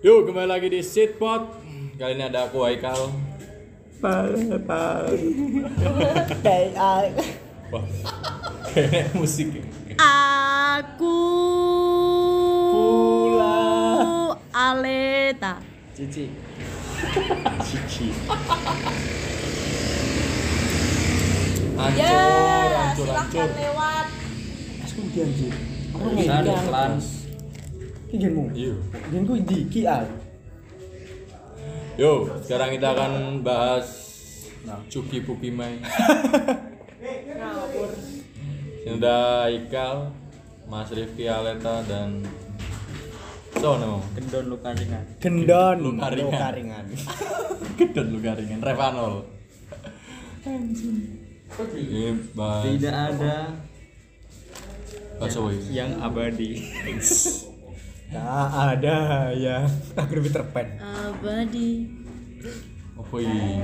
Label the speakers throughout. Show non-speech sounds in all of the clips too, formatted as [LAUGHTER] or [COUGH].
Speaker 1: kembali lagi di Seatpot Kali ini ada aku Haikal
Speaker 2: Dari- ah,
Speaker 1: Wah, kayak musik ya
Speaker 3: Aku
Speaker 1: Pula
Speaker 3: Aleta.
Speaker 1: Cici Cici
Speaker 3: Ya,
Speaker 1: Hancur, hancur, hancur
Speaker 3: silahkan lewat.
Speaker 2: Asku di anjir. Aku
Speaker 1: Bisa di
Speaker 2: ngegang.
Speaker 1: trans
Speaker 2: Ki genmu.
Speaker 1: Iya.
Speaker 2: Genku ah. di ki al.
Speaker 1: Yo, sekarang kita akan bahas Cuki Pukimai Sinda Haikal Mas Rifki Aleta dan Sono
Speaker 4: Gendon lu karingan.
Speaker 2: Gendon
Speaker 1: Lu karingan.
Speaker 2: Lu karingan.
Speaker 1: Gedot lu garingan Revanol. Ini bahas
Speaker 4: Tidak ada
Speaker 1: bahasa woi.
Speaker 2: Iya.
Speaker 4: yang abadi.
Speaker 2: Tak ada ya. Aku lebih terpen.
Speaker 3: Abadi.
Speaker 1: Apa ini?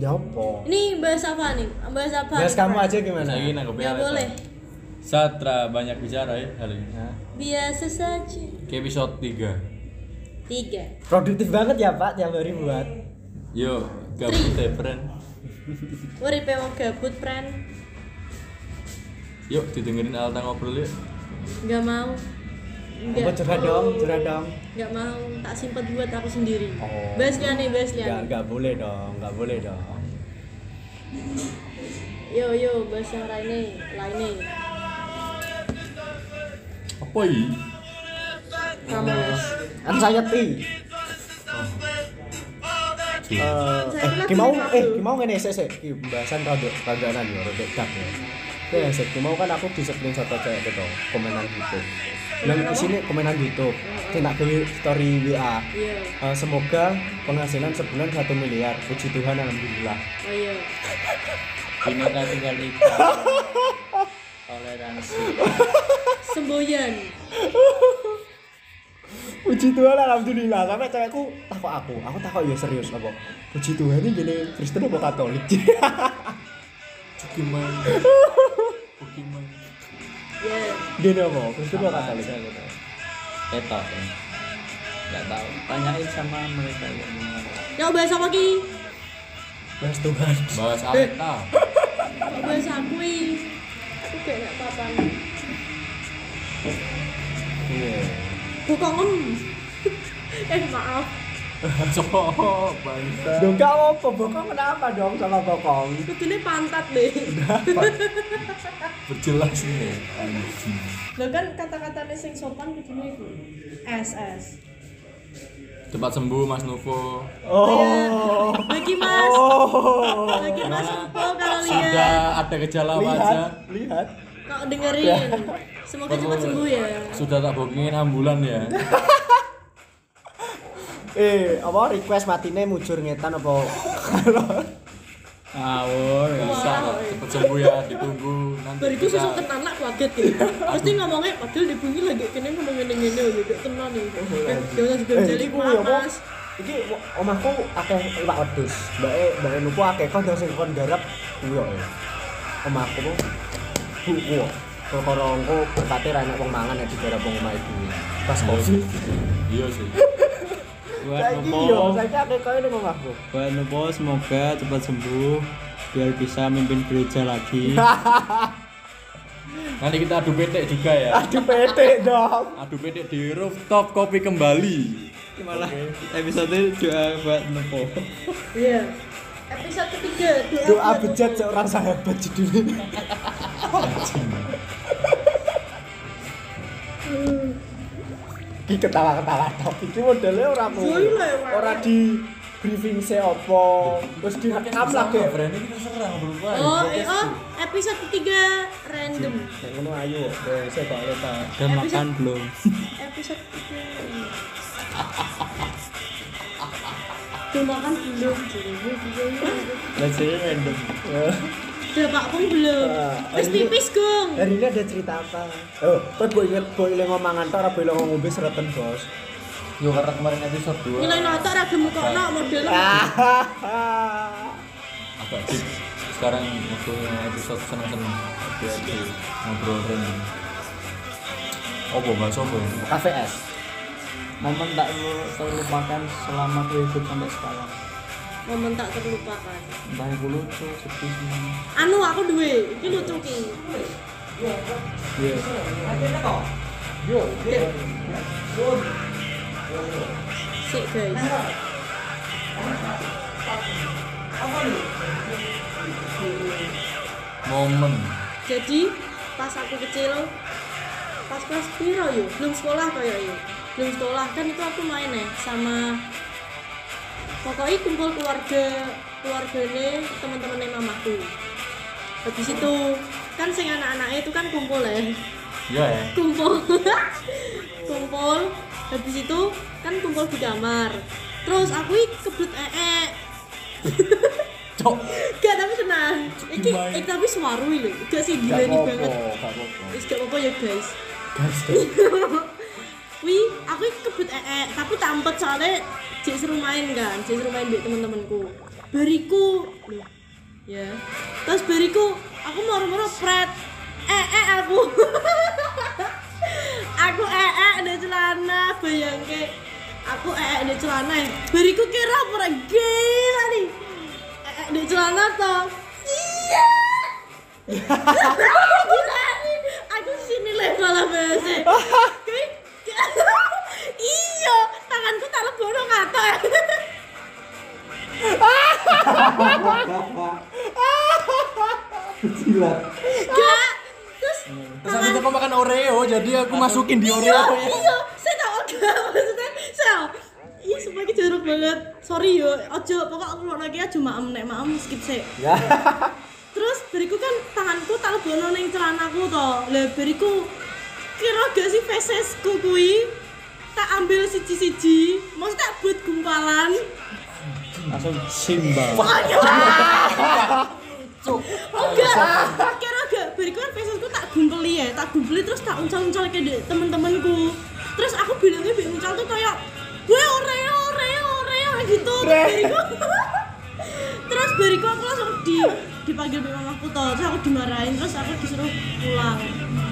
Speaker 2: Ya apa?
Speaker 3: Ini bahasa apa nih? Bahasa apa?
Speaker 2: Bias kamu aja gimana?
Speaker 1: Lagi nangkep
Speaker 3: Ya boleh.
Speaker 1: Satra banyak bicara ya hari ini.
Speaker 2: Hah?
Speaker 3: Biasa saja.
Speaker 1: Ke episode 3.
Speaker 3: Tiga.
Speaker 2: Produktif banget ya Pak tiap hari buat.
Speaker 1: Yo, gabut ya friend.
Speaker 3: Uripe mau gabut, pren.
Speaker 1: Yuk didengerin Alta ngobrol yuk.
Speaker 3: Gak mau.
Speaker 2: Apa curhat dong, curhat dong.
Speaker 3: Gak mau. Tak simpen buat aku sendiri.
Speaker 2: Oh.
Speaker 3: Bahas liane, bahas
Speaker 2: Enggak,
Speaker 3: liane.
Speaker 2: enggak boleh dong, enggak boleh dong.
Speaker 3: Yo yo, bahas yang lainnya, lainnya.
Speaker 1: Apa ya? ini?
Speaker 3: Kamas.
Speaker 2: Kan saya pi. Eh, eh, ki mau eh ki mau ngene sik sik. Ki pembahasan rada radanan ya, rada dak ya. Ya, sik ki mau kan aku di screenshot aja itu toh, komenan YouTube. Dan di sini komenan YouTube. Ki nak gawe story WA.
Speaker 3: Iya.
Speaker 2: Eh, semoga penghasilan sebulan 1 miliar. Puji Tuhan alhamdulillah.
Speaker 3: Oh iya.
Speaker 4: Bineka tunggal
Speaker 1: [LAUGHS]
Speaker 4: ika. Toleransi.
Speaker 3: Semboyan.
Speaker 2: Puji Tuhan alhamdulillah. Sampai cewekku takut aku. Aku takut ya serius apa. Puji Tuhan ini gini Kristen apa Katolik? [LAUGHS]
Speaker 1: Pokemon. Pokemon.
Speaker 3: Ya.
Speaker 2: gini apa? Kristen apa
Speaker 4: Apa
Speaker 2: Katolik?
Speaker 4: aja gitu. Etok. ya. Nggak tahu. Tanyain sama mereka yang mengerti.
Speaker 3: Yo bahas apa ki?
Speaker 2: Mas Tuhan.
Speaker 1: Bahas [LAUGHS] Aleta.
Speaker 3: Yo, Bahas aku i. Aku kayak gak apa-apa.
Speaker 2: Iya.
Speaker 3: Aku kok ngem. [LAUGHS] eh maaf.
Speaker 1: Cok, bangsa.
Speaker 2: Dong gak apa, bokong kenapa dong sama bokong?
Speaker 3: Kudune pantat
Speaker 2: [LAUGHS]
Speaker 3: deh.
Speaker 1: Berjelas ini.
Speaker 3: Lo kan kata-katanya sing sopan kudune iku. SS.
Speaker 1: Cepat sembuh Mas Nuvo.
Speaker 2: Oh.
Speaker 3: Iya. Bagi Mas.
Speaker 2: Oh.
Speaker 3: Bagi Mas Empo kalau Iya. lihat
Speaker 1: Sudah ada gejala wajah.
Speaker 2: Lihat, lihat.
Speaker 3: kok dengerin. Semoga cepat sembuh ya.
Speaker 1: Sudah tak bookingin ambulan ya.
Speaker 2: Eh, apa request matine mujur ngetan apa? Kalau
Speaker 4: Awur.
Speaker 1: Bisa, cepet sembuh ya, ditunggu nanti.
Speaker 3: Bariku
Speaker 1: kita-
Speaker 3: susuk ketan lah kaget ya.
Speaker 2: Iya.
Speaker 3: Pasti ngomongnya padahal dibunyi lagi kene ngomong ngene-ngene lho, gak tenan iki. Eh, Jangan
Speaker 2: Oh, Eh,
Speaker 3: sebel-jeli
Speaker 2: iku ya,
Speaker 3: maaf
Speaker 2: Mbok.
Speaker 3: Mas.
Speaker 2: Iki wo- omahku akeh iwak wedhus. Mbake mbake nuku akeh kon sing kon garap kuwi kok. Omahku ku buku. Perkara engko berkate ra enak wong mangan nek digarap wong omah ibu. Pas kopi.
Speaker 1: Iya sih.
Speaker 4: Buat
Speaker 2: Saiki
Speaker 4: Nopo.
Speaker 2: yo, saiki akeh koyo ning omahku.
Speaker 4: Buat Nopo semoga cepat sembuh biar bisa mimpin gereja
Speaker 2: [LAUGHS]
Speaker 4: lagi.
Speaker 1: Nanti kita adu petik juga ya.
Speaker 2: Aduh PT dong.
Speaker 1: Adu petik di rooftop kopi kembali.
Speaker 4: Malah episode doa buat Nopo.
Speaker 3: Iya. Episode ketiga
Speaker 2: Doa
Speaker 3: buat
Speaker 2: bejat
Speaker 3: Umu.
Speaker 2: seorang sahabat judulnya. Iki ketawa-ketawa tok. Iki modele ora mau.
Speaker 3: Gila, Pak.
Speaker 2: Ora di briefing se apa. Terus direkam lagi.
Speaker 1: Berani kita serang berubah.
Speaker 3: Oh,
Speaker 2: Iya,
Speaker 3: eh, oh, episode ketiga random.
Speaker 2: Nek ngono ayo, saya kok leta.
Speaker 4: Dan makan belum.
Speaker 3: Episode ketiga. Tuh makan kan belum, Iya,
Speaker 4: Dan saya random.
Speaker 3: Udah Pak Kung belum.
Speaker 2: Ah, Eh.
Speaker 3: Terus
Speaker 2: ini-
Speaker 3: pipis Gung.
Speaker 2: Hari ini ada cerita apa? Oh, kok gue inget gue ileng ngomongan tok, ora gue ileng ngombe sereten bos.
Speaker 1: Yo karena kemarin episode
Speaker 3: Nilai notok ra gemuk
Speaker 2: Ah.
Speaker 3: kono model.
Speaker 1: Agak deep. Sekarang waktunya episode seneng-seneng. Biar di ngobrol random. Oh, bahas apa ya?
Speaker 2: KVS.
Speaker 4: momen tak lu- terlupakan selama aku hidup sampai sekarang
Speaker 3: momen tak terlupakan
Speaker 4: entah itu lucu sedih semuanya
Speaker 3: anu aku duwe iki lucu ki
Speaker 4: iya
Speaker 3: sik guys
Speaker 1: momen
Speaker 3: jadi pas aku kecil pas kelas piro yo belum sekolah kayak yo belum sekolah kan itu aku main ya sama pokoknya kumpul keluarga keluargane teman-temannya mamaku habis itu kan sing anak-anaknya itu kan kumpul ya
Speaker 1: ya ya
Speaker 3: [LAUGHS] kumpul kumpul habis itu kan kumpul di kamar terus aku iki kebut ee
Speaker 1: cok
Speaker 3: gak tapi tenang iki iki tapi suaru lho gak sih gila nih banget
Speaker 4: gak apa-apa
Speaker 3: Wis gak apa-apa ya guys
Speaker 2: Guys,
Speaker 3: [LAUGHS]
Speaker 2: tuh.
Speaker 3: Wi, aku iki kebut ee tapi tampet soalnya jek seru main kan, jek seru main mbek temen-temenku. Bariku Loh, ya. Terus bariku aku moro-moro pret. Eh eh aku. [LAUGHS] aku eh eh di celana bayangke. Aku eh eh di celana. ya. Bariku kira ora gila nih. Eh eh di celana toh. Iya. Gila nih. Aku sini lah malah bahasa. iya tanganku tak lebono ngatok ya
Speaker 4: gila
Speaker 3: gak terus
Speaker 1: terus habis itu aku makan oreo jadi aku masukin di oreo
Speaker 3: oh, iya saya tau gak maksudnya saya tau. iya semuanya jorok banget sorry yo ojo pokok aku mau lagi aja maem nek maem skip sih
Speaker 2: Ya.
Speaker 3: terus beriku kan tanganku tak lebono neng celanaku to lah beriku kira gak sih fesesku kui tak ambil siji-siji mau tak buat gumpalan
Speaker 4: langsung
Speaker 2: Simba.
Speaker 3: pokoknya Oh enggak, kira enggak bariku kan Facebookku tak gumpeli ya, tak gumpeli terus tak uncal-uncal ke dek temen-temenku. Terus aku bilangnya bik uncal tuh kayak gue oreo oreo oreo kayak gitu. Terus bariku [LAUGHS] terus bariku aku langsung di dipanggil bik mamaku toh, terus aku dimarahin, terus aku disuruh pulang.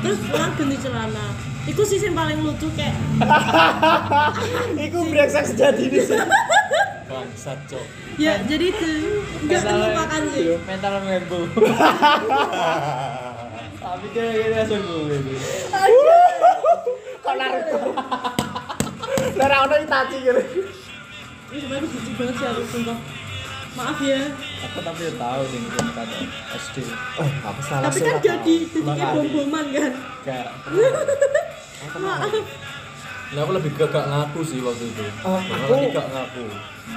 Speaker 3: Terus pulang ganti celana. Iku sih yang paling lucu kayak [LAUGHS]
Speaker 2: Iku brengsek sejati di sini.
Speaker 1: bangsat cok
Speaker 3: ya jadi itu enggak terlupakan sih.
Speaker 4: mental membu tapi kira kira langsung gue
Speaker 2: Kok Naruto? Lara ono Itachi gitu.
Speaker 3: Ini sebenarnya aku benci banget sih aku sumpah. Maaf ya.
Speaker 4: aku tapi udah tahu nih gue kata SD
Speaker 2: Oh, aku salah
Speaker 3: tapi kan
Speaker 2: surat.
Speaker 3: jadi jadinya bom-boman kan
Speaker 4: gak
Speaker 3: maaf
Speaker 1: nah aku lebih gagak ngaku sih waktu itu
Speaker 2: Oh,
Speaker 1: aku
Speaker 2: aku-
Speaker 1: lebih gak ngaku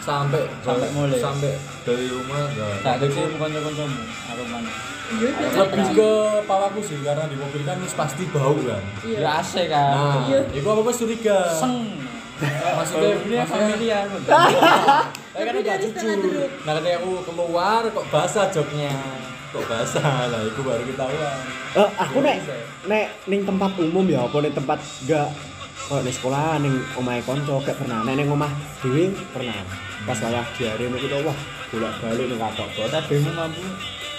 Speaker 1: sampai
Speaker 4: Sampai mulai.
Speaker 1: sampai dari rumah enggak
Speaker 4: gak ada sih bukan bukan kamu aku mana
Speaker 3: iya
Speaker 1: lebih ke pawaku sih karena di mobil kan terus pasti bau kan
Speaker 4: ya
Speaker 3: iya
Speaker 4: AC kan
Speaker 1: nah
Speaker 3: Iya.
Speaker 1: itu apa apa curiga
Speaker 4: seng
Speaker 1: maksudnya
Speaker 4: maksudnya
Speaker 1: maksudnya
Speaker 2: [LAUGHS]
Speaker 4: Hmm, familiar
Speaker 1: Eh, kan
Speaker 3: Tapi
Speaker 1: udah
Speaker 3: dari
Speaker 1: jujur
Speaker 3: setengah jeruk.
Speaker 1: nah ketika aku keluar kok basah joknya kok basah lah itu baru ketahuan
Speaker 2: Eh, aku nek
Speaker 4: Iya,
Speaker 2: nek ning tempat umum ya, apa ning tempat gak kalau di sekolah ning omahe konco gak pernah nek ning omah dhewe pernah pas wayah diare niku to wah bolak-balik ning katok to.
Speaker 4: kota Hmm. demo mampu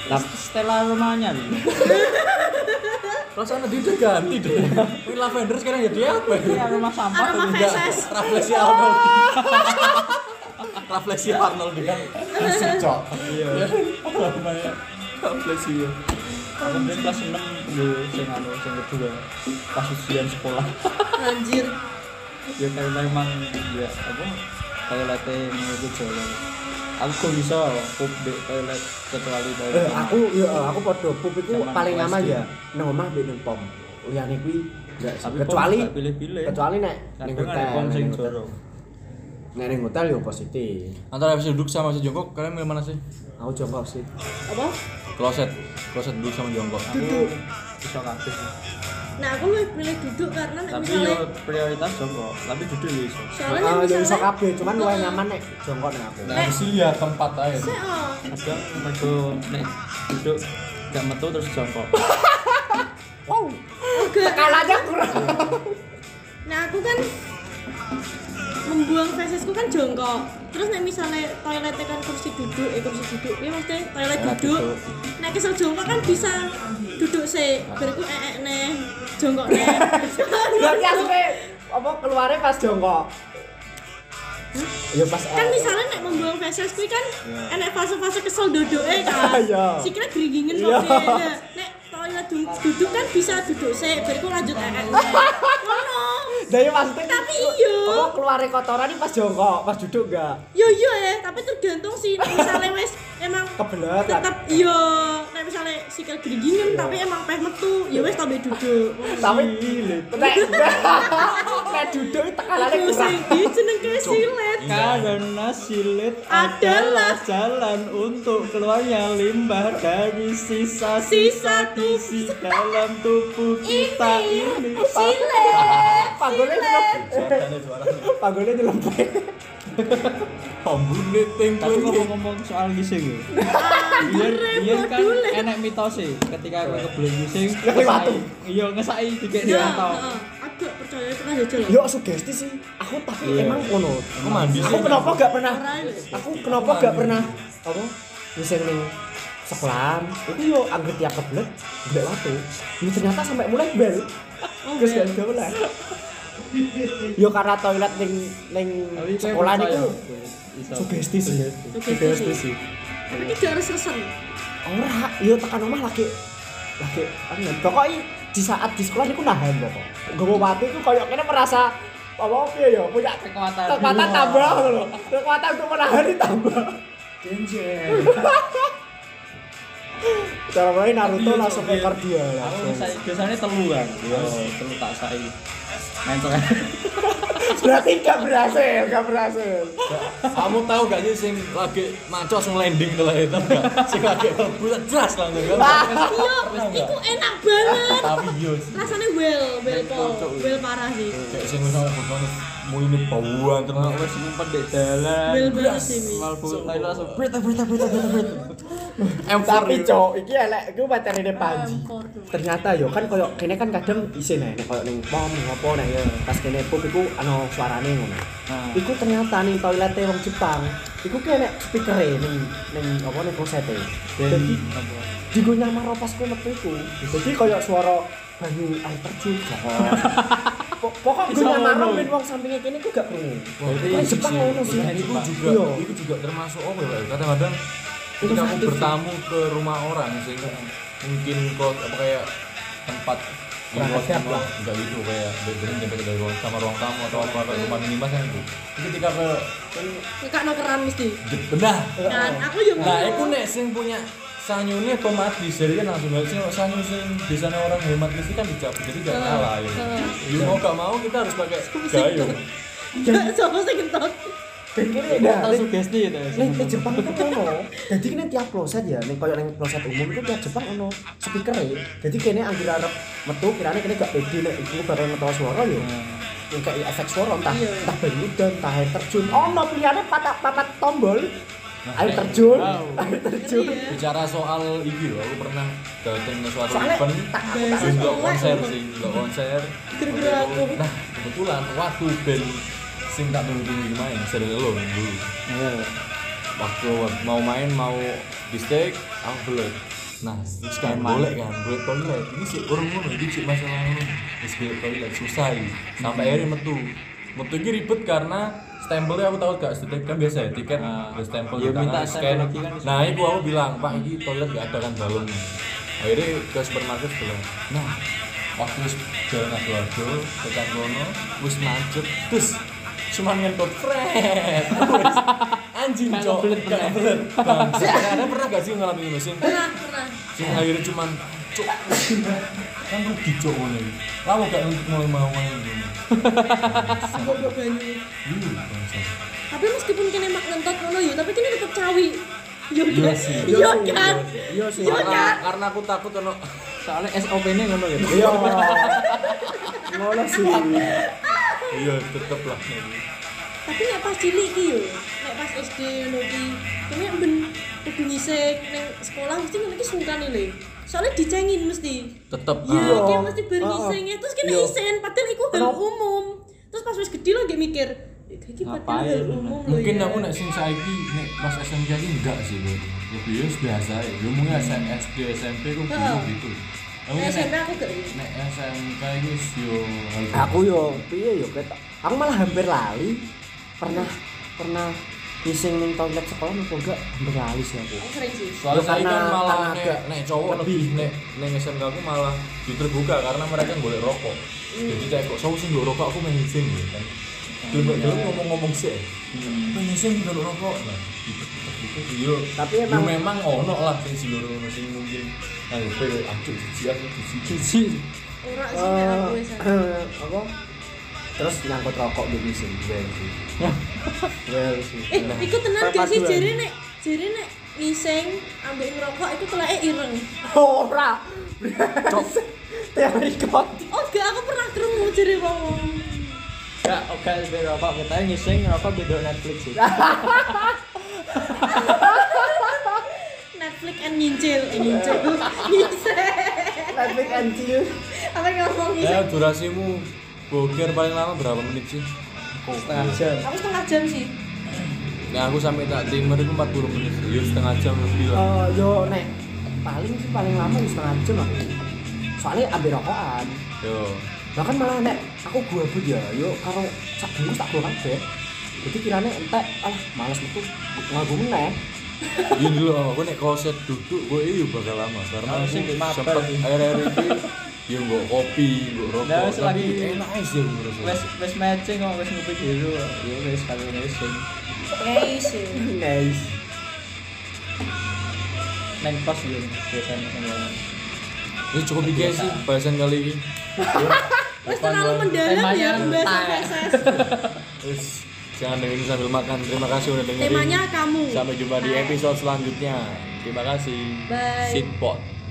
Speaker 2: Tapi
Speaker 4: setelah rumahnya nih
Speaker 1: perasaan dia udah ganti deh ini lavender sekarang jadi apa
Speaker 4: ini rumah sampah
Speaker 3: aroma
Speaker 1: Enggak,
Speaker 3: feses
Speaker 1: Raflesia Arnold Raflesia Arnold dengan asik cok
Speaker 4: iya rumahnya
Speaker 1: Raflesia
Speaker 4: aku mungkin kelas 6 yo sing anu sing kedua pas ujian sekolah
Speaker 3: anjir
Speaker 4: ya karena emang ya apa toiletnya menurutku jalan aku gak bisa pup di toilet kecuali toilet
Speaker 2: Eh, aku ya eh, aku padha pup iku
Speaker 4: Zaman
Speaker 2: paling
Speaker 4: aku
Speaker 2: aman
Speaker 4: SD.
Speaker 2: ya ning omah mbek ning pom. Liyane kuwi gak sih.
Speaker 4: Tapi pom
Speaker 2: kecuali
Speaker 4: gak pilih-pilih.
Speaker 2: kecuali nek ning
Speaker 4: kadang ada
Speaker 2: hotel.
Speaker 4: pom
Speaker 2: nek
Speaker 4: sing
Speaker 2: ning hotel.
Speaker 4: jorok
Speaker 2: Nek ning hotel yo positif.
Speaker 1: antara FC duduk sama FC jongkok kalian milih mana sih
Speaker 2: Aku jongkok sih.
Speaker 3: apa
Speaker 1: kloset kloset duduk sama jongkok
Speaker 4: aku bisa kabeh sih.
Speaker 3: nah aku lebih pilih duduk karena nek
Speaker 4: tapi yo
Speaker 3: misalnya
Speaker 4: prioritas jongkok tapi duduk yo iso
Speaker 3: soalnya kan?
Speaker 2: Heeh,
Speaker 3: nek
Speaker 2: yo iso
Speaker 3: misalnya
Speaker 2: eh, kabeh, cuman luwih nyaman nek jongkok ning aku.
Speaker 1: nah sih ya tempat aja
Speaker 3: Saya, oh,
Speaker 4: kadang mergo nek duduk gak metu terus jongkok
Speaker 2: Wow.
Speaker 3: oke
Speaker 2: Kalanya kurang.
Speaker 3: nah aku kan membuang fesesku kan jongkok terus nek misalnya toiletnya kan kursi duduk eh kursi duduk ya maksudnya toilet duduk nek kesel jongkok kan bisa duduk sih bariku ee neh jongkok neh iya,
Speaker 2: Berarti asli apa keluarnya pas jongkok ya pas
Speaker 3: kan misalnya nek membuang feses kuwi kan
Speaker 4: Iya.
Speaker 3: enek fase-fase kesel dodoke kan
Speaker 2: Iya.
Speaker 3: sikile gringgingen
Speaker 2: Iya.
Speaker 3: kok dene nek toilet du- duduk kan bisa duduk sik bariku lanjut enek ngono
Speaker 2: dari maksudnya
Speaker 3: Tapi iya.
Speaker 2: apa keluarnya kotoran ini pas jongkok pas duduk enggak
Speaker 3: yo yo ya tapi tergantung sih nek [LAUGHS] misalnya wes emang
Speaker 2: kebelet
Speaker 3: tetep iya nek misalnya sikil gringgingen tapi emang peh metu ya wes tambah duduk
Speaker 2: tapi [LAUGHS] nek nek duduk ini tekanannya
Speaker 3: Iku
Speaker 2: kurang
Speaker 3: sing iki jenenge silet
Speaker 4: Nah, Karena silet
Speaker 3: Adalah
Speaker 4: adalah jalan untuk keluarnya limbah dari sisa-sisa
Speaker 3: Sisa
Speaker 4: gizi dalam tubuh kita ini.
Speaker 3: ini silet
Speaker 2: panggulnya dilempar
Speaker 1: Suaranya suaranya.
Speaker 2: panggulnya dilempar
Speaker 1: Pambune ting
Speaker 4: Tapi
Speaker 1: kowe.
Speaker 4: ngomong-ngomong soal gising ya. Biar biar
Speaker 3: repot
Speaker 4: kan
Speaker 3: dulu.
Speaker 4: enak mitos sih ketika aku kebelet gising.
Speaker 2: Kelewat.
Speaker 4: ngesai- Iya ngesai dikek di
Speaker 3: ya
Speaker 4: rantau.
Speaker 3: heeh. agak percaya tenan aja lho
Speaker 2: yuk sugesti sih aku tapi
Speaker 4: Iya.
Speaker 2: emang kono
Speaker 1: Aku mandi
Speaker 2: aku kenapa gak pernah
Speaker 3: Ora lho.
Speaker 2: aku kenapa gak pernah apa ngising ning sekelam itu yo anggap ya kebelet gak waktu ini ternyata sampai mulai bel terus gak ada mulai yo karena toilet ning ning
Speaker 4: Tapi saya
Speaker 2: sekolah
Speaker 4: percaya,
Speaker 2: niku
Speaker 4: gue iso.
Speaker 2: sugesti sih sugesti sih
Speaker 3: Tapi gak harus resen.
Speaker 2: ora yo tekan omah lagi lagi angen pokoknya di saat di sekolah niku nahan pokok gak mau mati ku koyok kene merasa apa apa ya punya
Speaker 4: Kekuatan.
Speaker 2: kekuatan tambah loh kekuatan untuk menahan ditambah
Speaker 4: Genjer.
Speaker 2: cara main Naruto
Speaker 4: Iya,
Speaker 2: langsung
Speaker 4: iya.
Speaker 2: ekor dia
Speaker 4: Aku
Speaker 2: langsung
Speaker 4: ngesai biasanya telu kan. Iya, telu tak sai. Mencok.
Speaker 2: berarti gak berhasil gak berhasil
Speaker 1: Kamu tahu gak sih sing lagi macos ngelanding telah itu gak? Sing lagi mlebu jelas langsung kan.
Speaker 3: Iya, iku enak banget.
Speaker 1: Tapi yo sih.
Speaker 3: Rasanya well, well pol, well parah sih.
Speaker 1: Kayak sing ngono ngono mulune bauan terus
Speaker 4: Aku wis ngumpet di dalan.
Speaker 3: Well banget sih Mi.
Speaker 4: Malbu lain langsung
Speaker 2: Nah,
Speaker 4: brit.
Speaker 2: tapi cok iki elek iku materine panji
Speaker 3: Empor tuh.
Speaker 2: ternyata yo kan koyok kene kan kadang isin nih koyok ning pom ngopo nih ya pas kene pop iku ano suarane ngono
Speaker 4: Nah.
Speaker 2: iku ternyata nih toilete wong Jepang iku kene speakere ning ning apa ning klosete jadi digo nyamar pas ku metu iku jadi koyok suara banyu air terjun Ah. [LAUGHS] Po- pokok gue
Speaker 4: Bisa
Speaker 2: nyamar
Speaker 4: ngono.
Speaker 2: wong sampingnya kene ku gak krungu
Speaker 1: Berarti
Speaker 2: Wong Jepang ngono sih
Speaker 1: Itu juga,
Speaker 2: Iya.
Speaker 1: itu juga termasuk apa ya? Pak? Kadang-kadang ketika aku
Speaker 2: Inovatif.
Speaker 1: bertamu ke rumah orang sih mungkin kok apa kayak tempat di
Speaker 2: Kurang
Speaker 1: ruang
Speaker 2: sedap
Speaker 1: tamu,
Speaker 2: lah.
Speaker 1: enggak gitu kayak benerin sampai ke dari ruang sama ruang tamu atau apa kayak
Speaker 2: Iya.
Speaker 1: rumah minimas kan itu. Itu Ketika ke
Speaker 3: Kak nokeran mesti.
Speaker 1: benar.
Speaker 3: Kan aku yo
Speaker 1: Nah, aku nek sing punya sanyune otomatis jadi kan langsung aja sing- sanyu sing biasanya orang hemat mesti kan dicabut jadi gak
Speaker 3: Heeh,
Speaker 1: nyala ya.
Speaker 3: heeh.
Speaker 1: Ya,
Speaker 2: Iya.
Speaker 1: mau gak mau kita harus pakai
Speaker 3: Sing-
Speaker 1: gayung.
Speaker 3: Gak [LAUGHS] sopo sing entot.
Speaker 2: dan kene dah
Speaker 4: Tak sugesti itu.
Speaker 2: Nih, nih Jepang itu kan ono. Jadi kene tiap kloset ya, nih koyo ning kloset umum itu tiap Jepang ono speaker ya. Jadi kene anggere arep metu kirane kene gak pede nek iku bareng metu suara ya. Yang kayak efek suara entah
Speaker 3: Iya.
Speaker 2: entah banyu dan entah air terjun. Ono pilihannya patat patat tombol. Air terjun,
Speaker 4: wow.
Speaker 2: air terjun.
Speaker 3: Iya.
Speaker 1: Bicara soal iki loh, aku pernah datang ke suatu
Speaker 2: Soalnya
Speaker 1: event
Speaker 2: tak aku
Speaker 3: Guys.
Speaker 2: tak
Speaker 1: Terus nggak
Speaker 3: Soalnya
Speaker 1: konser
Speaker 3: aku-
Speaker 1: sih, nggak konser.
Speaker 3: Gara-gara aku.
Speaker 1: Nah, kebetulan waktu band sing tak tunggu-tunggu main, sering lo dulu.
Speaker 4: Iya.
Speaker 1: Waktu mau main mau di stage, aku belum. Nah, terus kan boleh kan, boleh toilet. Ini sih urung ngono, ini sih masalah ngono. Terus boleh toilet susah ya. Sampai akhirnya
Speaker 4: Hmm.
Speaker 1: metu. Metu ini ribet karena stempelnya aku tahu gak setiap kan biasa ya tiket
Speaker 4: Nah.
Speaker 1: terus stempel
Speaker 4: Ya,
Speaker 1: di tangan,
Speaker 4: minta
Speaker 1: di
Speaker 4: stempel
Speaker 1: scan.
Speaker 4: lagi kan.
Speaker 1: Nah, itu aku bilang, Pak, ini toilet gak ada kan balon. Akhirnya ke supermarket bilang, nah, waktu wis jalan Aduardo, tekan kono, wis mancet, terus cuman ngentot fret. [LAUGHS] Wis, Anjing,
Speaker 4: Kayak
Speaker 1: cok,
Speaker 4: kebelet
Speaker 1: kayak
Speaker 4: pernah.
Speaker 1: kebelet. Bangsat. Kalian pernah gak sih ngalamin ini? Sing,
Speaker 3: Pernah, pernah.
Speaker 1: sing akhirnya cuman, cok, kan rugi cok ngono iki. Lawo gak untuk mulai mau main ngono.
Speaker 3: Aku yo banyu.
Speaker 1: Iya, bangsat.
Speaker 3: Tapi meskipun kene mak entot ngono yo, tapi kene tetep cawi. Yo
Speaker 1: Iya
Speaker 3: kan.
Speaker 1: sih.
Speaker 3: Yo kan.
Speaker 2: Iya sih.
Speaker 3: Iya,
Speaker 1: Karena,
Speaker 3: Cak.
Speaker 1: karena aku takut ono
Speaker 4: Soalnya SOP-nya ngono ya.
Speaker 2: Iya. Ngono sih.
Speaker 1: iya tetep lah gitu.
Speaker 3: Tapi nek pas cilik iki yo, nek pas SD ngono iki, kene ben kudu ngisik ning sekolah mesti ngono iki sungkan lho. Soalnya dicengin mesti.
Speaker 1: tetep
Speaker 3: Iya,
Speaker 2: Ah.
Speaker 3: dia mesti bareng
Speaker 2: Ah, ah.
Speaker 3: isengnya terus kena
Speaker 2: Iya.
Speaker 3: isen, padahal iku hal
Speaker 2: Kenapa?
Speaker 3: umum. Terus pas wis gede lo gak mikir, "Eh, iki padahal hal
Speaker 4: Ngapain?
Speaker 3: umum lho.
Speaker 1: mungkin
Speaker 3: ya."
Speaker 1: aku nek sing saiki nek pas SMP iki enggak sih bro lebih ya biasa ya lu mungkin SM, SD SMP ku
Speaker 3: Heeh.
Speaker 1: dulu gitu Aku
Speaker 3: Nah,
Speaker 1: nek-
Speaker 3: SMP aku gak ini.
Speaker 1: Nek SMK itu yo.
Speaker 2: aku yo piye yo ketok aku malah hampir lali pernah pernah pising ning toilet sekolah nopo enggak hampir lali sih aku
Speaker 3: Aku sering sih.
Speaker 1: Soalnya
Speaker 2: Yo,
Speaker 1: saya kan
Speaker 2: karena-
Speaker 1: malah
Speaker 2: karena
Speaker 1: nek,
Speaker 2: agak
Speaker 1: nek cowok lebih, gitu. nek nek SMK aku malah diterbuka karena mereka boleh rokok.
Speaker 2: Hmm.
Speaker 1: Jadi kayak kok sawung sing nggo rokok aku main izin gitu kan. Dulu dulu ngomong-ngomong sih. Main izin dulu rokok. Nah, gitu, gitu, gitu. Yo,
Speaker 2: Hmm. Tapi
Speaker 1: yo
Speaker 2: emang-
Speaker 1: memang ono lah sing sing loro ngono sing mungkin nah pe aku siap aku
Speaker 4: Cici.
Speaker 3: Ora sih nek aku
Speaker 2: Eh,
Speaker 3: wis.
Speaker 2: apa terus nyangkut rokok di pising well [LAUGHS] sih well sih
Speaker 3: Eh, iku tenan gak sih
Speaker 2: Perpaduan.
Speaker 3: jere nek jere nek ngising ambek ngerokok iku telake ireng.
Speaker 2: [LAUGHS] ora [LAUGHS] cok teori kot
Speaker 3: Oh, gak aku pernah krungu jere wong.
Speaker 4: Ya, oke, beda rokok kita ngising rokok beda Netflix sih.
Speaker 2: Nah,
Speaker 3: Netflix and nyincil, eh, nyincil. Ngising.
Speaker 2: Netflix and chill
Speaker 3: Apa yang ngomong
Speaker 1: Ya
Speaker 3: ngising?
Speaker 1: durasimu boker paling lama berapa menit sih?
Speaker 4: Setengah jam.
Speaker 2: iya.
Speaker 3: Aku setengah jam sih.
Speaker 1: Nah aku sampai tak timer itu 40 menit, yo setengah jam lebih lah.
Speaker 2: Eh, yo nek paling sih paling lama wis setengah jam aku soalnya ambil rokokan
Speaker 1: Yo,
Speaker 2: bahkan malah nek aku gua bu ya yo karo sak bungkus tak gua kabeh jadi kirane entek alah males metu ngaku meneh
Speaker 1: Iya dulu aku nek kloset duduk gue iya bakal lama karena
Speaker 4: Nah,
Speaker 1: aku
Speaker 4: sih, mabar.
Speaker 1: sempet air-air itu ya nggak kopi, nggak rokok,
Speaker 4: Nah,
Speaker 1: tapi
Speaker 4: selagi-
Speaker 1: enak aja menurut
Speaker 4: Wes
Speaker 1: saya.
Speaker 4: wes matching kok wes ngopi biru. Ya wes kali ngising.
Speaker 3: Guys, ya.
Speaker 2: guys
Speaker 4: Neng pas ya biasanya neng-
Speaker 1: Ini Ya, cukup tiga sih bahasan kali ini.
Speaker 3: Wes terlalu mendalam
Speaker 4: Temanya
Speaker 3: ya pembahasan
Speaker 4: entah.
Speaker 3: feses.
Speaker 1: Wes, jangan dengerin sambil makan. Terima kasih udah dengerin.
Speaker 3: Temanya kamu.
Speaker 1: Sampai jumpa di episode selanjutnya. Terima kasih.
Speaker 3: Bye.
Speaker 1: Sitpot.